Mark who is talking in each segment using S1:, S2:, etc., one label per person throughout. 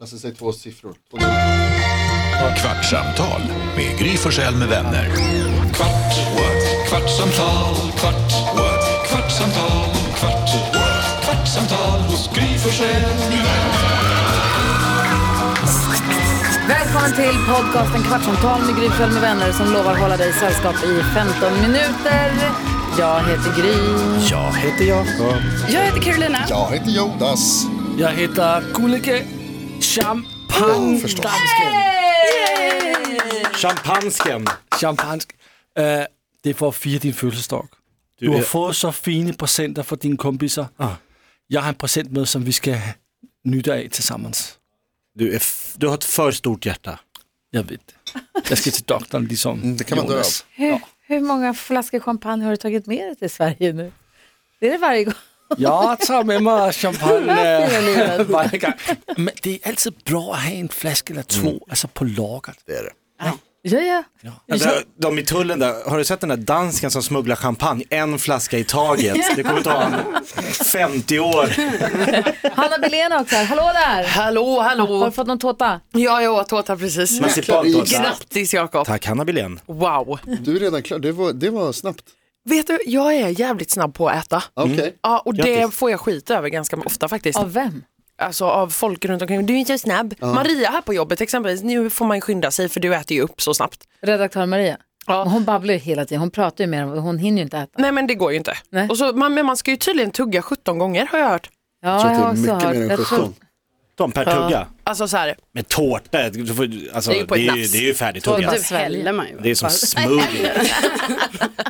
S1: Alltså säg två siffror. Två
S2: Kvartsamtal med Gry Forssell med vänner. Kvart, what? kvartsamtal, kvart, what? kvartsamtal, kvart, what? kvartsamtal hos Gry Forssell med vänner.
S3: Välkommen till podcasten Kvartsamtal med Gry Forssell med vänner som lovar hålla dig sällskap i 15 minuter. Jag heter Gry.
S4: Jag heter Jakob.
S3: Jag heter Carolina.
S1: Jag heter Jonas.
S3: Mm.
S4: Jag heter Kulike Champagne
S1: Oh, förstås.
S5: Champagnen.
S4: Champansk. Uh, det är för att fira din födelsedag. Du, har
S5: är-
S4: fått så fina presenter från dina kompisar.
S1: Ah.
S4: Jag har en present med som vi ska njuta av tillsammans.
S5: Du, är f- du har ett för stort hjärta.
S4: Jag vet det. Jag ska till doktorn liksom.
S1: Mm, det kan man dö
S4: Jonas.
S3: Hur, hur många flaskor champagne har du tagit med dig till Sverige nu? Det är det varje gång.
S4: Jag tar med mig champagne
S3: Vad fina ni är.
S4: eh, varje gång. Men det är alltid bra att ha en flaska eller
S1: Mm.
S4: två, alltså på lagret.
S5: Det är det.
S3: Ja, ja.
S4: Ja,
S6: Alltså, de i tullen där, har du sett den där dansken som smugglar champagne, en flaska i taget? Det kommer ta honom 50 år.
S3: Hanna Billén är också här. Hallå där!
S7: Hallå,
S3: Har du
S7: hallå!
S3: fått någon tårta?
S7: Ja, jag åt tårta precis.
S6: Man sitter allt åt.
S7: Grattis Jakob!
S6: Tack Hanna Billén.
S7: Wow!
S1: Du är redan klar. Det var, det var snabbt. Ah,
S7: Vet du, jag är jävligt snabb på att äta.
S1: Okej.
S3: Mm.
S7: Ja, och det får jag skit över ganska ofta faktiskt.
S3: Av vem?
S7: Alltså av folk runt omkring. Du är inte snabb. Maria här på jobbet exempelvis, nu får man ju skynda sig för du äter ju upp så snabbt.
S3: Redaktör Maria.
S7: Ja.
S3: Hon babblar ju hela tiden. Hon pratar ju mer än hon hinner ju inte äta.
S7: Nej men det går ju inte.
S3: Nej.
S7: Och så, man, men man ska ju tydligen tugga 17 gånger har jag hört.
S3: Ja,
S1: Så det är mycket mer än
S3: Jag tror-
S1: 17.
S6: De per tugga.
S7: Alltså så här,
S6: Med tårta, du får- alltså,
S7: Det
S6: det
S7: är ju på
S6: är
S7: ett
S6: ju,
S7: nafs.
S6: det är ju
S3: Tårta.
S6: färdigtuggat.
S3: Du sväller
S8: man ju.
S6: Det är som smoothie.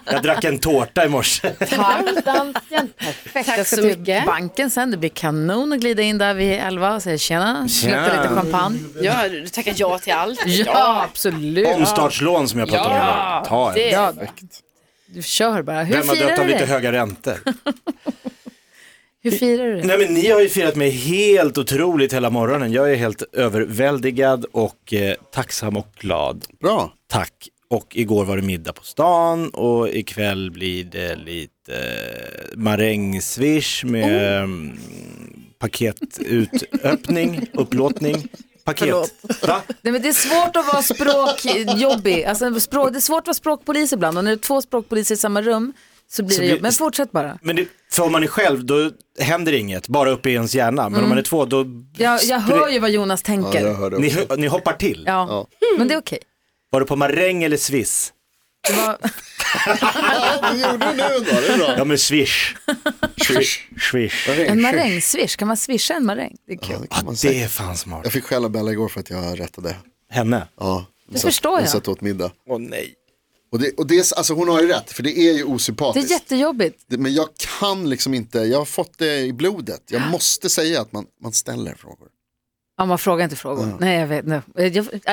S6: Jag drack en tårta i morse.
S3: Kallt Dalsken. Perfekt.
S8: Tack
S3: jag ska
S8: så
S3: till
S8: mycket.
S3: banken sen. Det blir kanon att glida in där vid elva och säga tjena. Slukta lite champagne.
S8: Ja, du tackar ja till allt.
S3: Ja, absolut.
S6: Omstartslån som jag pratade om. Ta en.
S3: Ja, du kör bara. Hur
S6: Vem har
S3: firar
S6: dött
S3: du
S6: av lite
S3: det?
S6: höga räntor?
S3: Hur firar du det?
S6: Nej men ni har ju firat mig helt otroligt hela morgonen. Jag är helt överväldigad och eh, tacksam och glad.
S1: Bra.
S6: Tack. Och igår var det middag på stan och ikväll blir det lite eh, marängsviss med mm, paketutöppning, upplåtning. Paket. Va?
S3: Nej, men det är svårt att vara språkjobbig. Alltså, språk, det är svårt att vara språkpolis ibland och när det är två språkpoliser i samma rum så blir det
S6: Så blir-
S3: jobbigt. Men fortsätt bara.
S6: Men det, för om man är själv då händer inget, bara uppe i ens hjärna. Men om man är två då...
S3: Jag, jag hör ju vad Jonas
S1: Ja,
S3: tänker.
S1: jag
S3: Ja,
S1: hörde
S6: Ni,
S1: också.
S6: hö- ni hoppar till.
S3: men det är okej.
S6: Var du på maräng eller sviss?
S1: Ja, det gjorde du nu ändå. Det är bra.
S6: Ja men swish. Swish. swish.
S3: En marängsvish, kan man swisha en maräng? Det är kul.
S1: Ja, det kan man
S6: Det
S1: säga.
S6: är fan smart.
S1: Jag fick skälla Bella igår för att jag rättade.
S6: Henne.
S1: Ja. Det
S3: förstår
S1: Hon
S3: jag.
S1: satt åt middag.
S6: Åh nej.
S1: Och, det, och det är, alltså hon har ju rätt, för det är ju
S3: Det
S1: osympatiskt.
S3: är jättejobbigt.
S1: Det- Men jag kan liksom inte, jag har fått det i blodet. Jag måste säga att man, man ställer frågor.
S3: Ja, man frågar inte frågor. Nej, jag vet. No.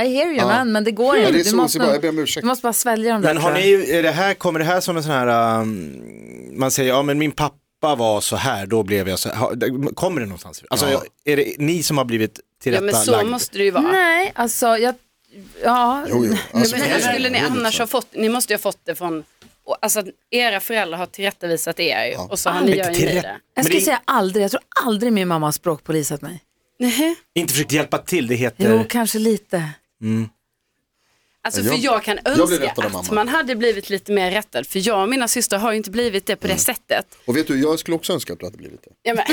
S3: I hear you man, men det går
S1: Ja,
S3: inte.
S1: det är så
S3: måste,
S1: osynbart. Jag ber om ursäkt.
S3: du måste bara svälja dem där.
S6: Men har
S3: tror jag.
S6: ni, är det här, kommer det här som en sån här, um, man säger, ja men min pappa var så här, då blev jag så här. Har- Kommer det någonstans? Alltså,
S1: Ja.
S6: är det ni som har blivit
S8: Ja, men så
S6: tillrättalagd?
S8: måste det ju vara.
S3: Nej, alltså jag... Ja,
S1: Jo, jo. Alltså,
S8: Men hur
S1: det liksom. är
S8: skulle ni
S1: hundra
S8: annars
S1: procent.
S8: ha fått, ni måste ju ha fått det från, och alltså att era föräldrar har tillrättavisat er ju, och så har ni, gör ju ni det.
S3: jag
S6: Men
S3: skulle
S6: det-
S3: säga aldrig. Jag tror aldrig min mamma har språkpolisat mig.
S6: Inte försökt hjälpa till, det heter...
S3: Jo, kanske lite.
S8: Alltså
S1: Ja,
S8: för
S1: jag-
S8: jag kan
S1: jag blev
S8: önska
S1: rättad av
S8: att
S1: mamma.
S8: man hade blivit lite mer rättad, för jag och mina systrar har ju inte blivit det på det sättet.
S1: Och vet du, jag skulle också önska att du hade blivit det.
S8: Ja, men,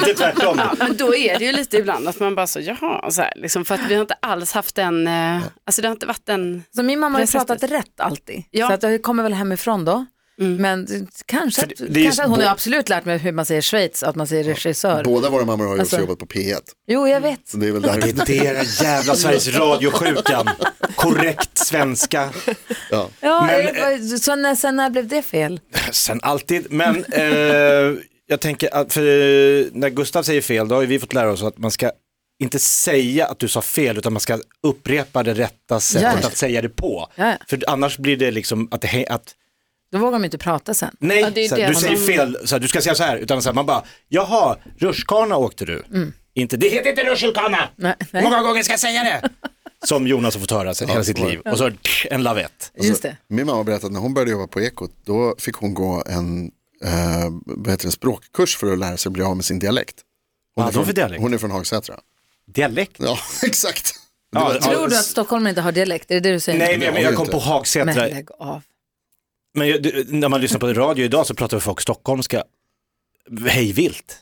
S6: inte tvärtom.
S8: ja, men då är det ju lite ibland att man bara så, jaha, så här, liksom, för att vi har inte alls haft den, eh, alltså det har inte varit den,
S3: Så min mamma har ju
S8: Precis.
S3: pratat rätt alltid.
S8: Ja.
S3: Så att jag kommer väl hemifrån då. Men kanske,
S6: För
S3: att,
S6: det- det är ju
S3: kanske att hon
S6: bo-
S3: har absolut lärt mig hur man säger Schweiz, att man säger regissör.
S1: Båda våra mammor har ju också
S3: Alltså-
S1: jobbat på P1.
S3: Jo, jag vet.
S6: Mm.
S1: Så det är väl där.
S6: Det är den jävla Sveriges Radio-sjukan. Korrekt svenska.
S1: Ja.
S3: Ja,
S6: Men, eh,
S3: är det bara- så när, sen när blev det fel?
S6: Sen alltid, men eh, jag tänker att för, eh, när Gustav säger fel, då har ju vi fått lära oss att man ska inte säga att du sa fel, utan man ska upprepa det rätta sättet
S3: Ja.
S6: att säga det på.
S3: Ja.
S6: För annars blir det liksom att, det, hä- att
S3: Då vågar de inte prata sen.
S6: nej,
S8: Ja, det är
S6: så här,
S8: det
S6: du säger
S8: som-
S6: fel, så här, du ska säga så här, utan så här, man bara, jaha, rutschkana åkte du. Inte, det heter inte rutschkana,
S3: Mm. Nej,
S6: hur
S3: nej.
S6: många gånger ska jag säga det? Som Jonas har fått höra sen, hela sitt liv, och så en lavett.
S3: Just det.
S1: Alltså, Min mamma berättade att när hon började jobba på Ekot, då fick hon gå en, eh, vad heter det, språkkurs för att lära sig att bli av med sin dialekt. Hon, är
S6: Vad hade hon
S1: från-
S6: för dialekt?
S1: hon är från Hagsätra.
S6: Dialekt?
S1: Ja, exakt.
S6: Ja, ja,
S3: Tror du att Stockholm inte har dialekt? Är det det du säger?
S6: Nej, men jag, jag kom på
S3: Men
S6: Hagsätra.
S3: lägg av.
S6: Men jag, det- när man lyssnar på radio idag så pratar folk stockholmska hejvilt.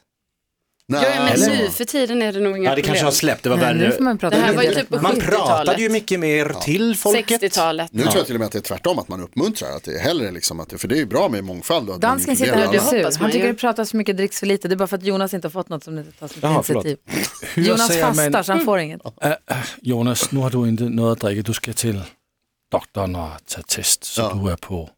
S1: Nej,
S8: Ja, men
S1: eller?
S8: nu för tiden är det nog inga
S6: Ja, det kanske har
S8: problem.
S6: släppt, det var
S3: Nej, nu får
S6: värre.
S3: man prata
S8: Det här var ju
S3: dialekt.
S8: typ på
S6: Man
S8: 70-talet.
S6: pratade ju mycket mer till folket.
S8: 60-talet.
S1: Nu tror jag till och med att det är tvärtom, att man uppmuntrar. Att det är hellre liksom att det, för det är ju bra med mångfald. och att man
S3: Dansken sitter
S1: inkluderar
S3: här och är
S1: alla.
S8: hoppas
S3: sur.
S8: man
S3: Han tycker
S8: ju.
S3: det pratas för mycket, dricks för lite. Det är bara för att Jonas inte har fått något som det tas något
S6: Jaha, förlåt.
S3: initiativ.
S4: Hur
S3: Jonas
S4: säger man-
S3: fastar så han får inget.
S4: Jonas, nu har du inte något att dricka. Du ska till doktorn och ta test. Så
S1: Ja.
S4: du är på,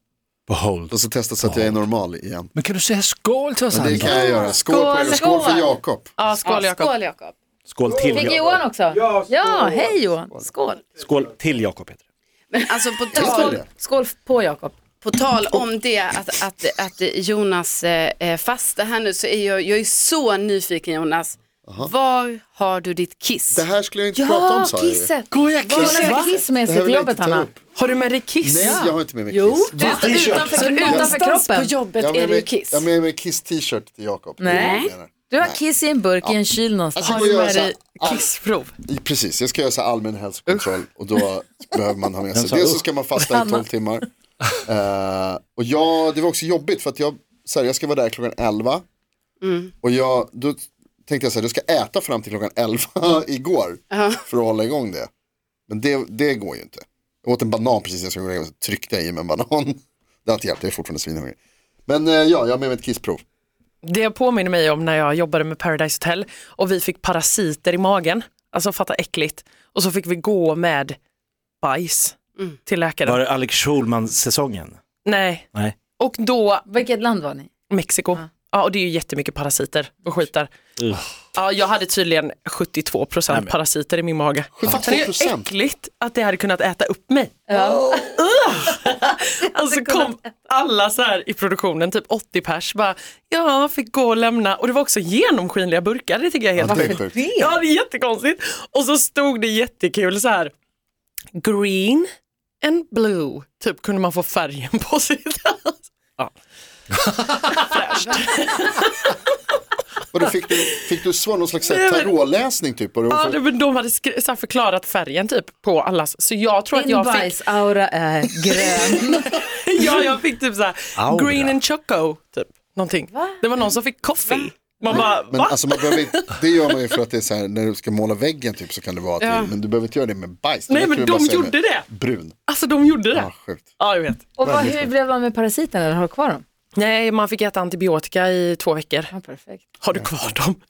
S4: på hold.
S1: Och så testas att jag är normal igen.
S4: Men kan du säga skål till oss
S1: Men det
S4: andra?
S1: kan jag göra. Skål på er och skål för
S8: Skål.
S1: Jakob.
S8: Ja, skål
S7: Jakob.
S8: Skål Jakob.
S6: Skål till
S3: Fick
S6: Jakob.
S3: Johan också? Ja, hej Johan. Skål.
S6: Skål till Jakob heter det.
S8: Men alltså på
S1: Skål.
S8: tal,
S3: Skål på Jakob.
S8: på tal om det att, att, att Jonas eh, eh, fasta här nu så är jag, jag är så nyfiken Jonas. Var har du ditt kiss?
S1: Det här skulle jag inte prata
S3: Ja,
S1: om sa jag ju.
S3: kisset. Jonas har kiss med
S1: Det här
S3: sig
S1: vill
S3: till
S1: jag
S3: jobbet
S1: inte ta
S3: Hanna.
S1: upp.
S7: Har du med dig kiss?
S1: Nej, jag har inte med mig kiss.
S3: Utan- Utanför, utanför
S8: Någonstans
S3: kroppen.
S8: på jobbet
S1: Jag har
S8: är
S1: med
S8: det ju
S1: mig,
S8: kiss.
S1: jag har med mig kiss t-shirt till Jakob. Det är
S3: Nej.
S1: det jag menar.
S3: Du har kiss i en burk i en kyl någonstans.
S1: Alltså,
S7: Har
S1: får
S7: du
S1: göra
S7: med
S1: så här-
S7: dig kissprov?
S1: I- Precis, jag ska göra så här allmän hälsokontroll och då behöver man ha med sig. Dels så ska man fasta i 12 timmar. Eh, och jag, det var också jobbigt för att jag, så här, jag ska vara där klockan 11.
S8: Mm.
S1: Och jag, då tänkte jag så här, jag ska äta fram till klockan 11 igår för att hålla igång det. Men det, det går ju inte. Jag åt en banan precis när jag skulle gå och lägga mig, så tryckte jag i mig en banan. Det har inte hjälpt, jag är fortfarande svinhungrig. Men eh, ja, jag har med mig ett kissprov.
S7: Det påminner mig om när jag jobbade med Paradise Hotel och vi fick parasiter i magen. Alltså fatta äckligt. Och så fick vi gå med bajs till läkaren.
S6: Mm. Var det Alex Schulman-säsongen?
S7: Nej.
S6: Nej.
S7: Och då
S3: Vilket land var ni?
S7: Mexiko. Ja. och det är ju jättemycket parasiter och skit där. Ja, jag hade tydligen 72 procent parasiter i min mage.
S1: 72%?
S7: Fattar ni hur äckligt att det hade kunnat äta upp mig? och så kom alla så här i produktionen, typ 80 pers, bara ja, fick gå och lämna. Och det var också genomskinliga burkar, det tycker jag är helt
S1: Ja, det är
S7: sjukt.
S1: sjukt.
S7: Ja, det är jättekonstigt. Och så stod det jättekul så här, green and blue, typ kunde man få färgen på sitt
S1: Och då fick du, fick du svar, någon slags så här
S7: Nej, men-
S1: tarotläsning typ? Och då
S7: Ja, det, men de hade skri- så här förklarat färgen typ på allas, så jag tror att
S3: Din
S7: jag fick,
S3: bajsaura är grön.
S7: ja, jag fick typ så här,
S6: Aura.
S7: green and choco, typ någonting. Det var någon som fick coffee. Man bara,
S1: Men
S7: va?
S1: alltså man behöver inte, det gör man ju för att det är så här, när du ska måla väggen typ så kan det vara att,
S8: Ja.
S1: men du behöver inte göra det med bajs.
S7: Nej,
S1: räcker
S7: men
S1: det bara
S7: de
S1: att säga
S7: gjorde det.
S1: Brun.
S7: Alltså de gjorde
S1: Ja,
S7: det.
S1: sjukt.
S7: Ja, jag vet.
S3: Och vad, hur blev de med parasiten eller har du kvar dem?
S7: Nej, man fick äta antibiotika i två veckor.
S3: Ja, perfekt.
S7: Har du kvar dem?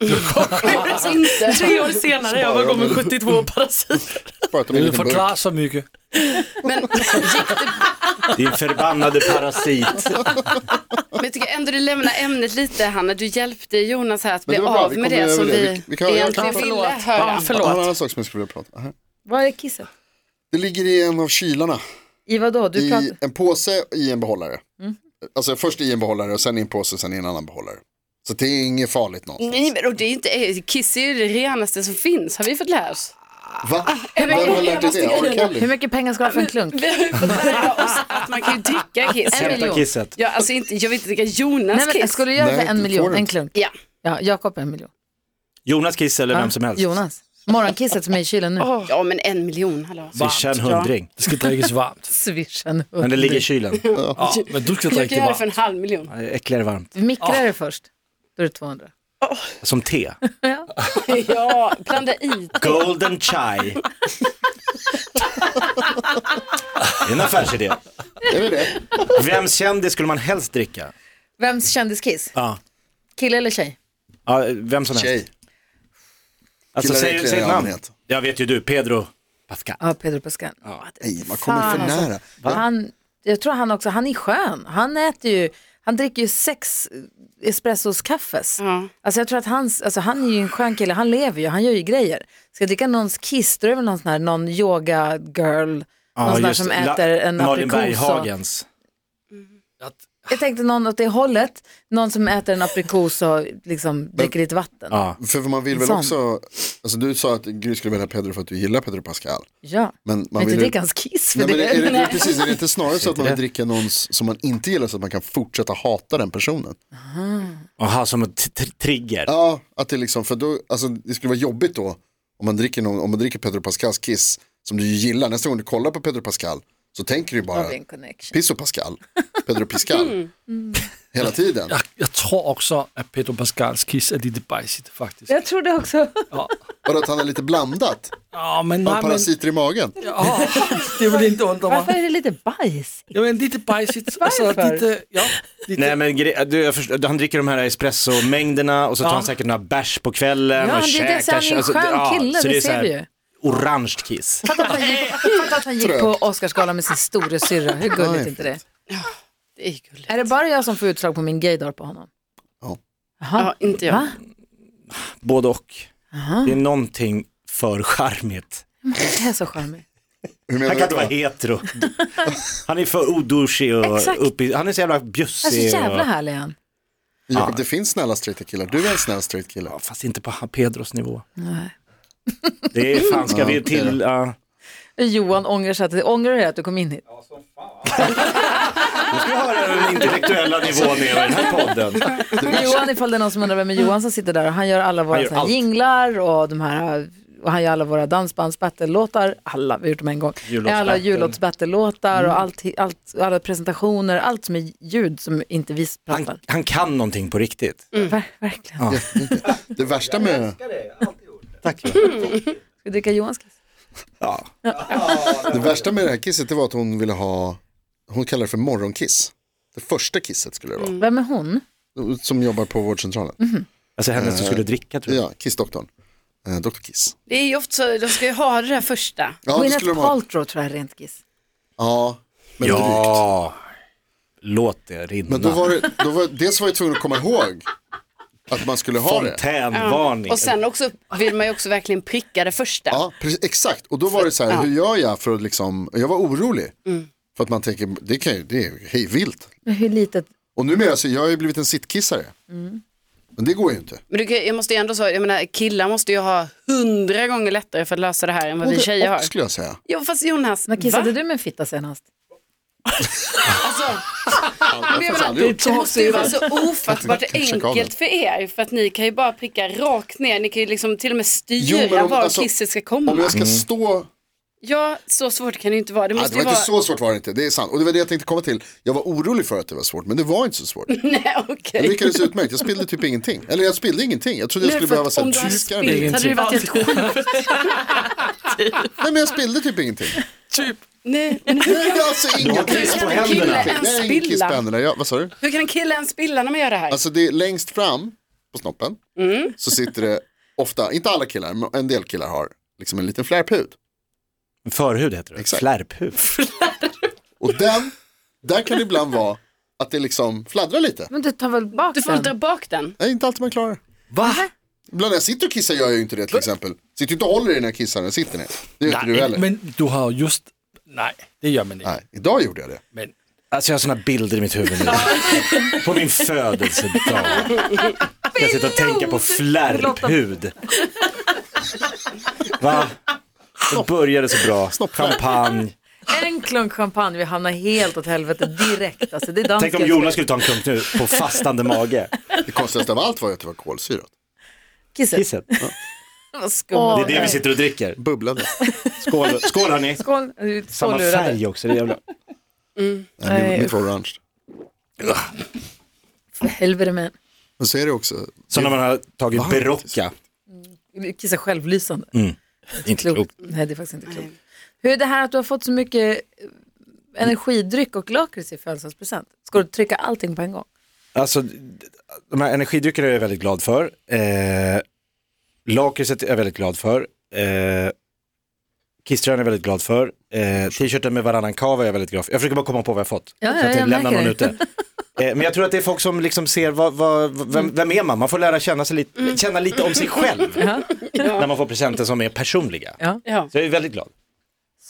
S8: Alltså inte.
S7: Tre år senare, jag var igång med 72 parasiter.
S1: Bara att de är en
S4: Vill du
S1: liten burk.
S4: förklara så mycket?
S8: Men,
S6: Din förbannade parasit.
S8: men jag tycker ändå du lämnar ämnet lite Hanna. Du hjälpte Jonas här att
S1: Men
S8: bli
S1: det var bra,
S8: av
S1: vi
S8: med
S1: kommer
S8: det
S1: över
S8: som
S1: det.
S8: vi,
S1: Vi- vi kan-
S8: egentligen
S1: Ja, förlåt.
S8: ville höra.
S7: Ja,
S1: Jag har en
S7: förlåt.
S1: annan sak som jag skulle vilja prata om. Aha.
S3: Vad är kisset?
S1: Det ligger i en av kylarna.
S3: I vadå? Du
S1: I
S3: pratar...
S1: en påse i en behållare.
S7: Mm.
S1: Alltså först i en behållare och sen i en påse och sen i en annan behållare. Så det är inget farligt någonstans.
S8: Nej, men och det är inte, eh, kiss är ju det renaste som finns, har vi fått lära oss.
S1: Va?
S7: Ah,
S1: Vem har lärt dig det? R.
S3: Hur
S1: Kelly?
S3: mycket pengar ska du ha för en klunk?
S8: Vi har ju fått lära oss att man kan ju dricka kiss.
S3: En
S6: Hämta
S3: miljon.
S6: kisset.
S8: Ja, alltså inte, jag vill inte dricka Jonas
S3: Nej, men,
S8: kiss.
S3: ska du göra
S1: Nej,
S3: för en
S1: det får
S3: miljon?
S1: du
S3: En
S1: inte.
S3: klunk?
S8: Ja.
S3: Ja, Jakob en miljon.
S6: Jonas kiss eller
S3: Ja,
S6: vem som helst.
S3: Jonas. Morgonkisset som är i kylen nu.
S8: ja, men en miljon, hallå.
S6: Swisha en hundring.
S4: Det ska drickas varmt.
S3: Swishen.
S6: Men det ligger i kylen.
S4: Ja, men du ska
S8: Jag
S4: dricka
S8: kan
S4: det
S8: göra det för en
S4: varmt.
S8: halv miljon.
S6: Ja, Äckligare varmt.
S3: Mikra det först. Då är det 200.
S6: Som te.
S8: Ja, blanda i.
S6: Golden chai. Det är en affärsidé.
S1: Är det det?
S6: Vems kändis skulle man helst dricka?
S3: Vems kändiskiss?
S6: Ja.
S3: Kille eller tjej?
S6: Ja, vem som helst.
S1: Tjej.
S6: Alltså,
S1: Killar är
S6: säg,
S1: äckligare
S6: säg ett
S1: i
S6: namn.
S1: allmänhet.
S6: Jag vet ju du, Pedro Pascal.
S3: Ja, Pedro Pascal.
S1: Nej, man kommer
S3: Fan,
S1: för
S3: alltså.
S1: nära.
S3: Han, jag tror han också, han är skön. Han äter ju, han dricker ju sex espressos kaffes.
S8: Ja.
S3: Alltså jag tror att hans, alltså han är ju en skön kille, han lever ju, han gör ju grejer. Ska jag dricka någons kiss, då är det väl någon sån här, någon yoga girl, någon sån där som
S6: La-
S3: äter en
S6: Malin
S3: aprikos. och-
S6: Berghagens.
S3: Jag tänkte någon åt det hållet, någon som äter en aprikos och liksom dricker lite vatten. Ja.
S6: Ja.
S1: För man vill väl
S3: Sån.
S1: också, alltså du sa att Gry skulle välja Pedro för att du gillar Pedro Pascal. Men man
S3: Men inte
S1: vill ju-
S3: dricka hans kiss för
S1: Nej, men
S3: det.
S1: är, är, det,
S3: Nej.
S1: precis, är det inte snarare så att man vill dricka någon s- som man inte gillar så att man kan fortsätta hata den personen?
S6: Jaha, som en t- t- trigger.
S1: Ja, att det liksom, för då, alltså, det skulle vara jobbigt då Om man dricker, någon, om man dricker Pedro Pascals kiss, som du ju gillar, nästa gång du kollar på Pedro Pascal så tänker du ju bara
S3: Har vi en connection?
S1: Pisso Pascal, Pedro Pascal,
S3: Mm.
S1: hela tiden.
S4: Jeg, jeg tror også, at Pedro Pascals kiss er lidt bajsigt, faktisk.
S3: Jag tror det också.
S1: Bara att han är lite blandat,
S4: Åh, men
S1: har
S4: nej, men,
S1: parasiter i magen.
S4: åh, det vil ikke undre mig.
S3: Varför är det lite bajs?
S4: Jamen, lidt bajsigt. Altså,
S3: Varför?
S4: lidt, øh, ja, lidt,
S6: Nej men gre- du, jag förstår, han dricker de här espresso-mängderna och så tar
S4: Ja.
S6: han säkert några bärs på kvällen.
S3: Ja,
S6: och
S3: det- det-
S6: käkar,
S3: så han är en
S6: alltså,
S3: skön
S6: ja,
S3: kille,
S6: så
S3: det
S6: är så
S3: ser
S6: här
S3: vi ju.
S6: Orange kiss.
S3: Fatta att han gick, fatta att han gick på Oscarsgalan med sin storasyrra. Hur gulligt
S1: Nej,
S3: är inte det?
S8: Det är gulligt.
S3: Är det bara jag som får utslag på min gaydar på honom?
S1: Ja.
S3: Jaha.
S8: Ja, inte jag.
S3: Va?
S6: Både och. Det är någonting för charmigt.
S3: Det är så charmigt.
S1: Hur
S6: Han kan
S1: menar
S6: inte
S1: du?
S6: vara
S1: då?
S6: hetero. Han är för oduschig
S3: Exakt.
S6: och uppe i- Han är så jävla
S3: Han är
S6: bjussig.
S3: så jävla
S6: och,
S3: härlig han.
S1: Jakob, det finns snälla straighta killar, du är en snäll straight kille.
S6: Ja, fast inte på Pedros nivå.
S3: Nej.
S6: Det är fan, ska
S1: Ja,
S6: vi
S1: okej
S6: till... ja.
S3: Johan ångrar sig. att- Ångrar du dig att du kom in hit?
S6: Nu ska vi höra hur den intellektuella nivån är i den här podden.
S3: Johan, ifall det är någon som undrar vem är Johan som sitter där. och Han gör alla våra
S6: Han gör
S3: så här
S6: allt.
S3: jinglar och, de här, och han gör alla våra dansbandsbattle-låtar. Alla, vi har gjort dem en gång. Alla jullåtsbattle-låtar
S6: Mm.
S3: och allt, allt, alla presentationer, allt som är ljud som inte vi
S6: Han,
S3: pratar.
S6: han kan någonting på riktigt.
S8: Mm.
S3: Ver, verkligen.
S1: Det värsta med,
S6: Tack.
S3: Ska vi dricka Johans kiss?
S6: Ja.
S1: det värsta med det här kisset det var att hon ville ha, hon kallar det för morgonkiss. Det första kisset skulle det vara,
S3: Vem är hon?
S1: som jobbar på vårdcentralen.
S8: Mhm.
S6: Alltså henne som skulle dricka tror jag.
S1: Ja, kissdoktorn. Eh, Dr Kiss.
S8: Det är ju ofta så, de ska ju ha det där första.
S1: Ja, det
S3: Gwyneth
S1: skulle de ha.
S3: Paltrow tror jag är rent kiss.
S1: Ja, men drygt.
S6: Ja, låt det rinna.
S1: Men då var det, då var, dels var jag tvungen att komma ihåg att man skulle ha det.
S6: Fontänvarning.
S8: Och sen också vill man ju också verkligen pricka det första.
S1: Ja, precis, exakt. Och då var det så här, hur gör jag för att liksom, jag var orolig.
S8: Mm.
S1: För att man tänker, det, kan ju, det är ju hej vilt.
S3: Men hur litet?
S1: Och numera så, jag har ju blivit en sittkissare.
S8: Mm.
S1: Men det går ju inte.
S8: Men du, kan- jag måste ju ändå säga, jag menar killar måste ju ha hundra gånger lättare för att lösa det här än vad vi
S1: Både
S8: tjejer
S1: och,
S8: har.
S1: skulle jag säga.
S8: Jo fast Jonas,
S3: När kissade
S8: va?
S3: du med en fitta senast?
S1: Jag har faktiskt aldrig gjort.
S8: Det måste ju vara så ofattbart
S1: Försök av den.
S8: enkelt för er för att ni kan ju bara pricka rakt ner, ni kan ju liksom till och med
S1: Jo,
S8: styra
S1: men om-
S8: var
S1: alltså,
S8: kisset ska komma.
S1: Om jag ska stå,
S8: Ja, så svårt kan det ju inte vara. Det
S1: nej,
S8: måste
S1: det var
S8: ju vara...
S1: inte så svårt var det inte, det är sant. Och det var det jag tänkte komma till, jag var orolig för att det var svårt, men det var inte så svårt.
S8: Nej,
S1: Jag
S8: okej.
S1: lyckades utmärkt, jag spillde typ ingenting. Eller jag spillde ingenting, jag trodde jag skulle
S8: Nej, för
S1: behöva typ,
S8: att
S1: så här,
S8: om du hade
S1: trycka den.
S8: spillt hade det ju varit helt sjukt.
S1: Nej men jag spillde typ ingenting.
S8: Nej, men hur,
S1: Nej, alltså ingenting.
S6: kiss på
S1: Jag
S6: händerna.
S1: spillde ingenting.
S8: Ens
S1: Nej, ingen kiss på
S8: spilla.
S1: händerna. Ja, vad sa du?
S8: hur kan en kille ens spilla när man gör det här?
S1: Alltså det är längst fram på snoppen
S8: Mm.
S1: så sitter det ofta, inte alla killar, men en del killar har liksom en liten flärphud.
S6: Förhud heter det.
S1: Exakt.
S6: Flärphud.
S1: Och den, där kan det ibland vara att det liksom fladdrar lite.
S3: Men du tar väl bak
S8: Du får
S3: den?
S8: dra bak den.
S1: Nej, inte alltid man klarar det.
S6: Va?
S1: Ibland när jag sitter och kissar gör jag ju inte det till exempel. Sitter ju inte och håller i den här kissaren, jag sitter ner. Det gör inte du
S4: nej,
S1: heller.
S4: men du har jo just... Nej, det gör man ikke.
S1: Nej, idag gjorde jag det.
S4: Men
S6: Alltså jag har sådana bilder i mitt huvud nu. på min födelsedag. Ska jag sitta och tänka på flärphud. Va? Det började så bra. Champagne.
S3: En klunk champagne, vi hamnar helt åt helvete direkt. Alltså, det är
S6: Tänk om
S3: danskens fel.
S6: Jonas skulle ta en klunk nu på fastande mage.
S1: Det konstigaste av allt var ju att det var kolsyrat.
S3: Kisset.
S6: Kisset.
S3: Vad skumt.
S6: Det är det vi sitter och dricker.
S1: Bubblade.
S6: Skål, Skål hörni.
S3: Skål. Du är
S6: Samma
S3: lurade.
S6: färg också. Det är jävla...
S1: Nej,
S3: Nej,
S1: mitt- mitt var orange.
S3: För helvete med.
S1: Men så är det också.
S6: Så när man har tagit berocca.
S3: Kissa självlysande.
S6: Inte
S3: Klokt.
S6: klokt.
S3: Nej, det är faktiskt inte klokt. Hur är det här att du har fått så mycket eh, energidryck och lakrits i födelsedagspresent? Ska du trycka allting på en gång?
S6: Alltså, de här energidryckerna är jag väldigt glad för. Eh, Lakritset är jag väldigt glad för. Eh, Kisströjan är jag väldigt glad för. Eh, T-shirten med varannan kava är jag väldigt glad för. Jag försöker bara komma på vad jag har fått.
S3: Ja,
S6: så
S3: ja,
S6: att jag
S3: jag
S6: inte lämnar
S3: märker
S6: någon
S3: det.
S6: ute. Eh, men jag tror att det är folk som liksom ser, vad, vad, vem, vem är man? Man får lära känna, sig lite, känna lite om sig själv. När man får presenter som är personliga.
S3: Ja.
S8: Ja.
S6: Så jag är väldigt glad.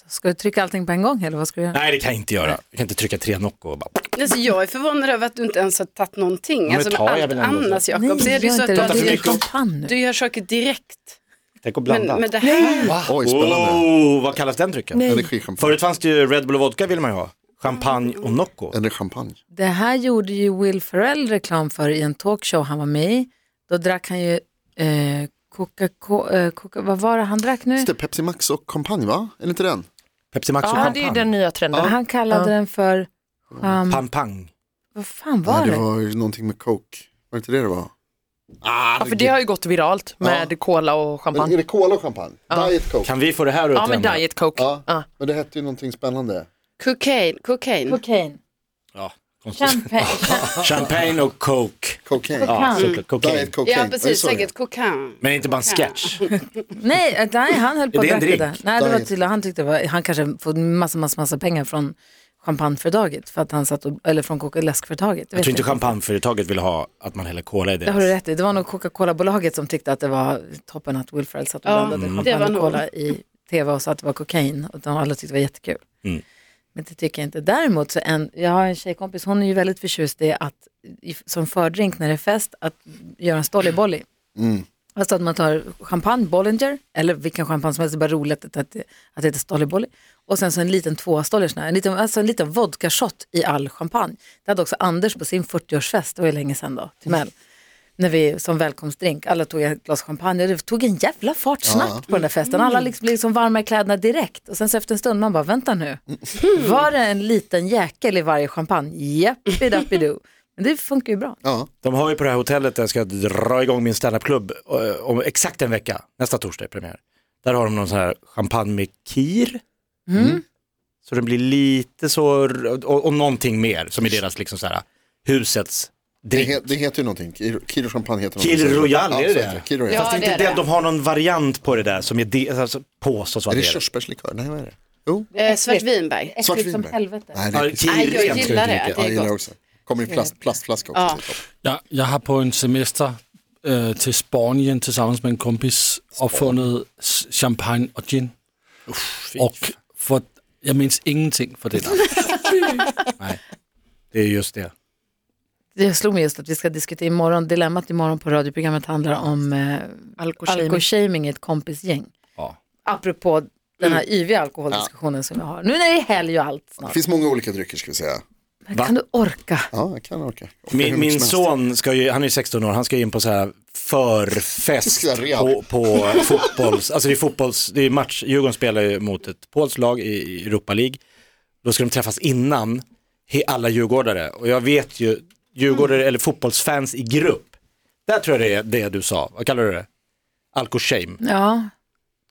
S3: Ska du trycka allting på en gång eller vad ska du göra?
S6: Nej, det kan jag inte göra. Jag kan inte trycka tre Nocco och bara...
S8: Alltså, jag är förvånad över att du inte ens har tagit någonting.
S6: men
S8: Alltså,
S6: tar jag
S8: allt
S6: väl ändå så.
S8: annars Jakob, det är
S3: gör
S8: ju så
S3: inte
S8: att
S3: det.
S6: Prata för
S8: du,
S3: Du gör
S6: mycket om-
S3: champagne nu.
S8: du gör saker direkt.
S6: Tänk att
S8: Men,
S6: blanda.
S8: men det här,
S1: Oj, spännande.
S6: oh, vad kallas den drycken?
S1: Energichampagne.
S6: Förut fanns det ju Red Bull och vodka ville man ju ha. Champagne och Nocco.
S1: Energichampagne.
S3: Det här gjorde ju Will Ferrell reklam för i en talkshow han var med i. Då drack han ju eh, Coca-Cola, eh, Coca, vad var det han drack nu?
S1: Just det, Pepsi Max och kompanj va? Är det inte den?
S6: Pepsi Max och
S7: Ja, det är ju den
S6: champagne.
S7: nya trenden.
S3: Han kallade den för, um,
S6: Pampang.
S3: vad fan var
S1: Nej,
S3: det?
S1: det var ju någonting med Coke. Var det inte det det var? Ah,
S7: Ja, för det har ju gått viralt med
S1: Ja.
S7: cola och
S1: Är
S7: champagne.
S1: det Cola och champagne? Diet Coke?
S6: Kan vi få det här att
S7: Ja, men
S6: utröna?
S7: diet coke.
S1: Ja.
S7: Ja.
S1: Men det hette ju någonting spännande.
S8: Cocaine, cocaine.
S3: Kokain.
S6: Ja,
S3: Champagne.
S6: Champagne och coke.
S1: Cocaine.
S6: Ja,
S3: Mm.
S6: såklart. Cocaine.
S1: Diet Cocaine.
S8: Ja,
S1: jag
S8: precis,
S1: såg det.
S8: säkert cocaine.
S6: Men inte bara en sketch.
S3: Nej, eh, nej, han höll på
S6: Är det
S3: att
S6: en
S3: dricka det.
S6: drink?
S3: Nej, det var
S1: Diet.
S3: tydligen, han tyckte det var, han kanske fått massa, massa, massa pengar från champagneföretaget för att han satt och, eller från Coca läskföretaget.
S6: Jag tror inte champagneföretaget vill ha att man häller cola i
S3: Det har du
S6: deras.
S3: rätt i. Det var nog Coca-Cola-bolaget som tyckte att det var toppen att Will Ferrell satt och
S8: Ja,
S3: blandade
S8: mm.
S3: champagne
S8: det
S3: och
S8: var nog.
S3: cola i tv och sa att det var kokain. Och de alla tyckte det var jättekul.
S6: Mm.
S3: Men det tycker jag inte. Däremot så en, jag har en tjejkompis, hon är ju väldigt förtjust i att i, som fördrink när det är fest, att göra en stollybolly.
S1: Mm.
S3: Alltså att man tar champagne, Bollinger, eller vilken champagne som helst, det är bara roligt att, att, att det heter Stollybolly. Och sen så en liten tvåa Stollers, en liten, alltså en liten vodka-shot i all champagne. Det hade också Anders på sin 40-årsfest, det var ju länge sedan då, till Mell. När vi som välkomstdrink, alla tog ett glas champagne och det tog en jävla fart snabbt på den där festen. Alla liksom blev liksom varma i kläderna direkt och sen så efter en stund man bara, vänta nu, var det en liten jäkel i varje champagne? Jappidappidu. Men det funkar ju bra.
S1: Ja.
S6: De har ju på det här hotellet där jag ska dra igång min standupklubb eh, om exakt en vecka. Nästa torsdag är premiär. Där har de någon sån här champagne med kir.
S3: Mm.
S6: Så den blir lite så, och, och någonting mer som är deras liksom så här husets
S1: Det,
S6: drink.
S1: he, det heter ju någonting. Kir- Kir champagne heter
S6: Kir
S1: någonting.
S6: Royal,
S1: Ja,
S6: är det det?
S1: säkert. Kir Royal.
S8: Ja,
S6: Fast det är
S8: det
S6: inte
S8: är
S6: det,
S8: det.
S6: de har någon variant på det där som är de, alltså, påstås
S1: Är
S6: vara
S1: det
S6: deras.
S1: körsbärslikör? Nej, vad är det? Jo.
S8: Eh, Svartvinbär.
S1: Svart
S3: Äckligt som
S1: vinbär.
S3: helvete.
S1: Nej, det
S6: Ja,
S1: är
S6: kir
S1: skit.
S8: Nej, jag
S6: rent ska
S8: gillar
S6: du
S8: det.
S6: dricka.
S1: Ja,
S8: det är
S1: jag gillar
S8: gott.
S1: också. Kommer i plast, plastflaska också.
S8: Ja.
S1: det är toppen.
S4: Jeg, jeg har på en semester øh, til Spanien tillsammans med en kompis opfundet s- champagne og gin. og for, jeg mindes ingenting for det der.
S6: Det är just det.
S3: Det slog mig just att vi ska diskutera imorgon, dilemmat imorgon på radioprogrammet handlar om eh,
S7: Alkoshaming.
S3: alkoshaming i ett kompisgäng. Apropå den här yviga alkoholdiskussionen som vi har. Nu när det är helg och allt
S1: Det
S3: snart.
S1: finns många olika drycker ska vi säga.
S3: Men kan du orka?
S1: Ja, jag kan orka. Orka hur
S6: Min,
S1: mycket
S6: min
S1: som helst.
S6: son, ska ju, han är ju 16 år, han ska ju in på så här förfest
S1: Ska jag
S6: på, på fotbolls, alltså det är fotbolls, det är match, Djurgården spelar ju mot ett polskt lag i, i Europa League. Då ska de träffas innan he- alla djurgårdare och jag vet ju djurgårdare eller fotbollsfans i grupp. Där tror jag det är det du sa, vad kallar du det? Alkoshame.
S3: Ja,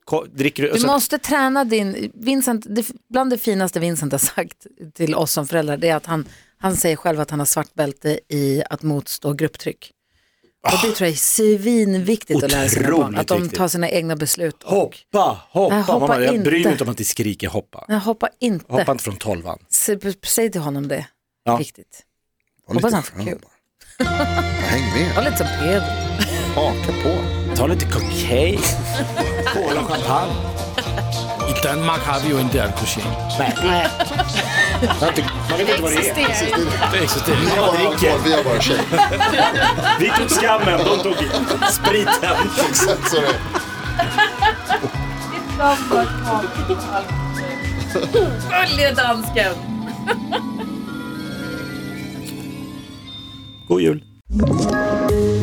S6: Ko- Dricker du,
S3: du
S6: så-
S3: måste träna din, Vincent, det, bland det finaste Vincent har sagt till oss som föräldrar, det är att han, han säger själv att han har svart bälte i att motstå grupptryck. Och det tror jag är svinviktigt att lära sina barn,
S6: Otroligt
S3: att de
S6: viktigt.
S3: tar sina egna beslut.
S6: hoppa, hoppa,
S3: Nej, hoppa
S6: Mamma, jag bryr
S3: inte.
S6: mig inte om att ni skriker hoppa.
S3: Nej, hoppa inte.
S6: Hoppa inte från tolvan.
S3: Säg, säg till honom det.
S6: Ja.
S3: Viktigt.
S1: Var lite
S3: Hoppas han får
S1: skön
S3: kul.
S1: bara. Häng med,
S3: Var lite som Peder.
S1: haka på.
S6: Ta lite cocaine, cola och champagne.
S4: I Danmark har vi jo inte alkoholshaming.
S6: Man vet inte vad det är.
S4: Det eksisterer
S1: Vi
S4: ikke.
S1: har bara alkohol, vi har bara tjej.
S6: Vi tog skammen, de tog spriten.
S1: Exakt så är det.
S3: Följ dansken!
S6: God jul.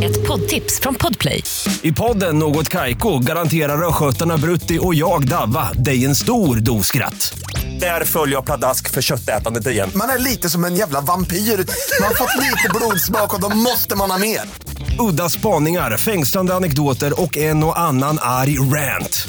S9: Ett poddtips från Podplay.
S10: I podden Något Kaiko garanterar östgötarna Brutti och jag, Davva, dig en stor dos skratt. Där följer jag pladask för köttätandet igen.
S11: Man är lite som en jävla vampyr. Man har fått lite blodsmak och då måste man ha mer.
S10: Udda spaningar, fängslande anekdoter och en och annan arg rant.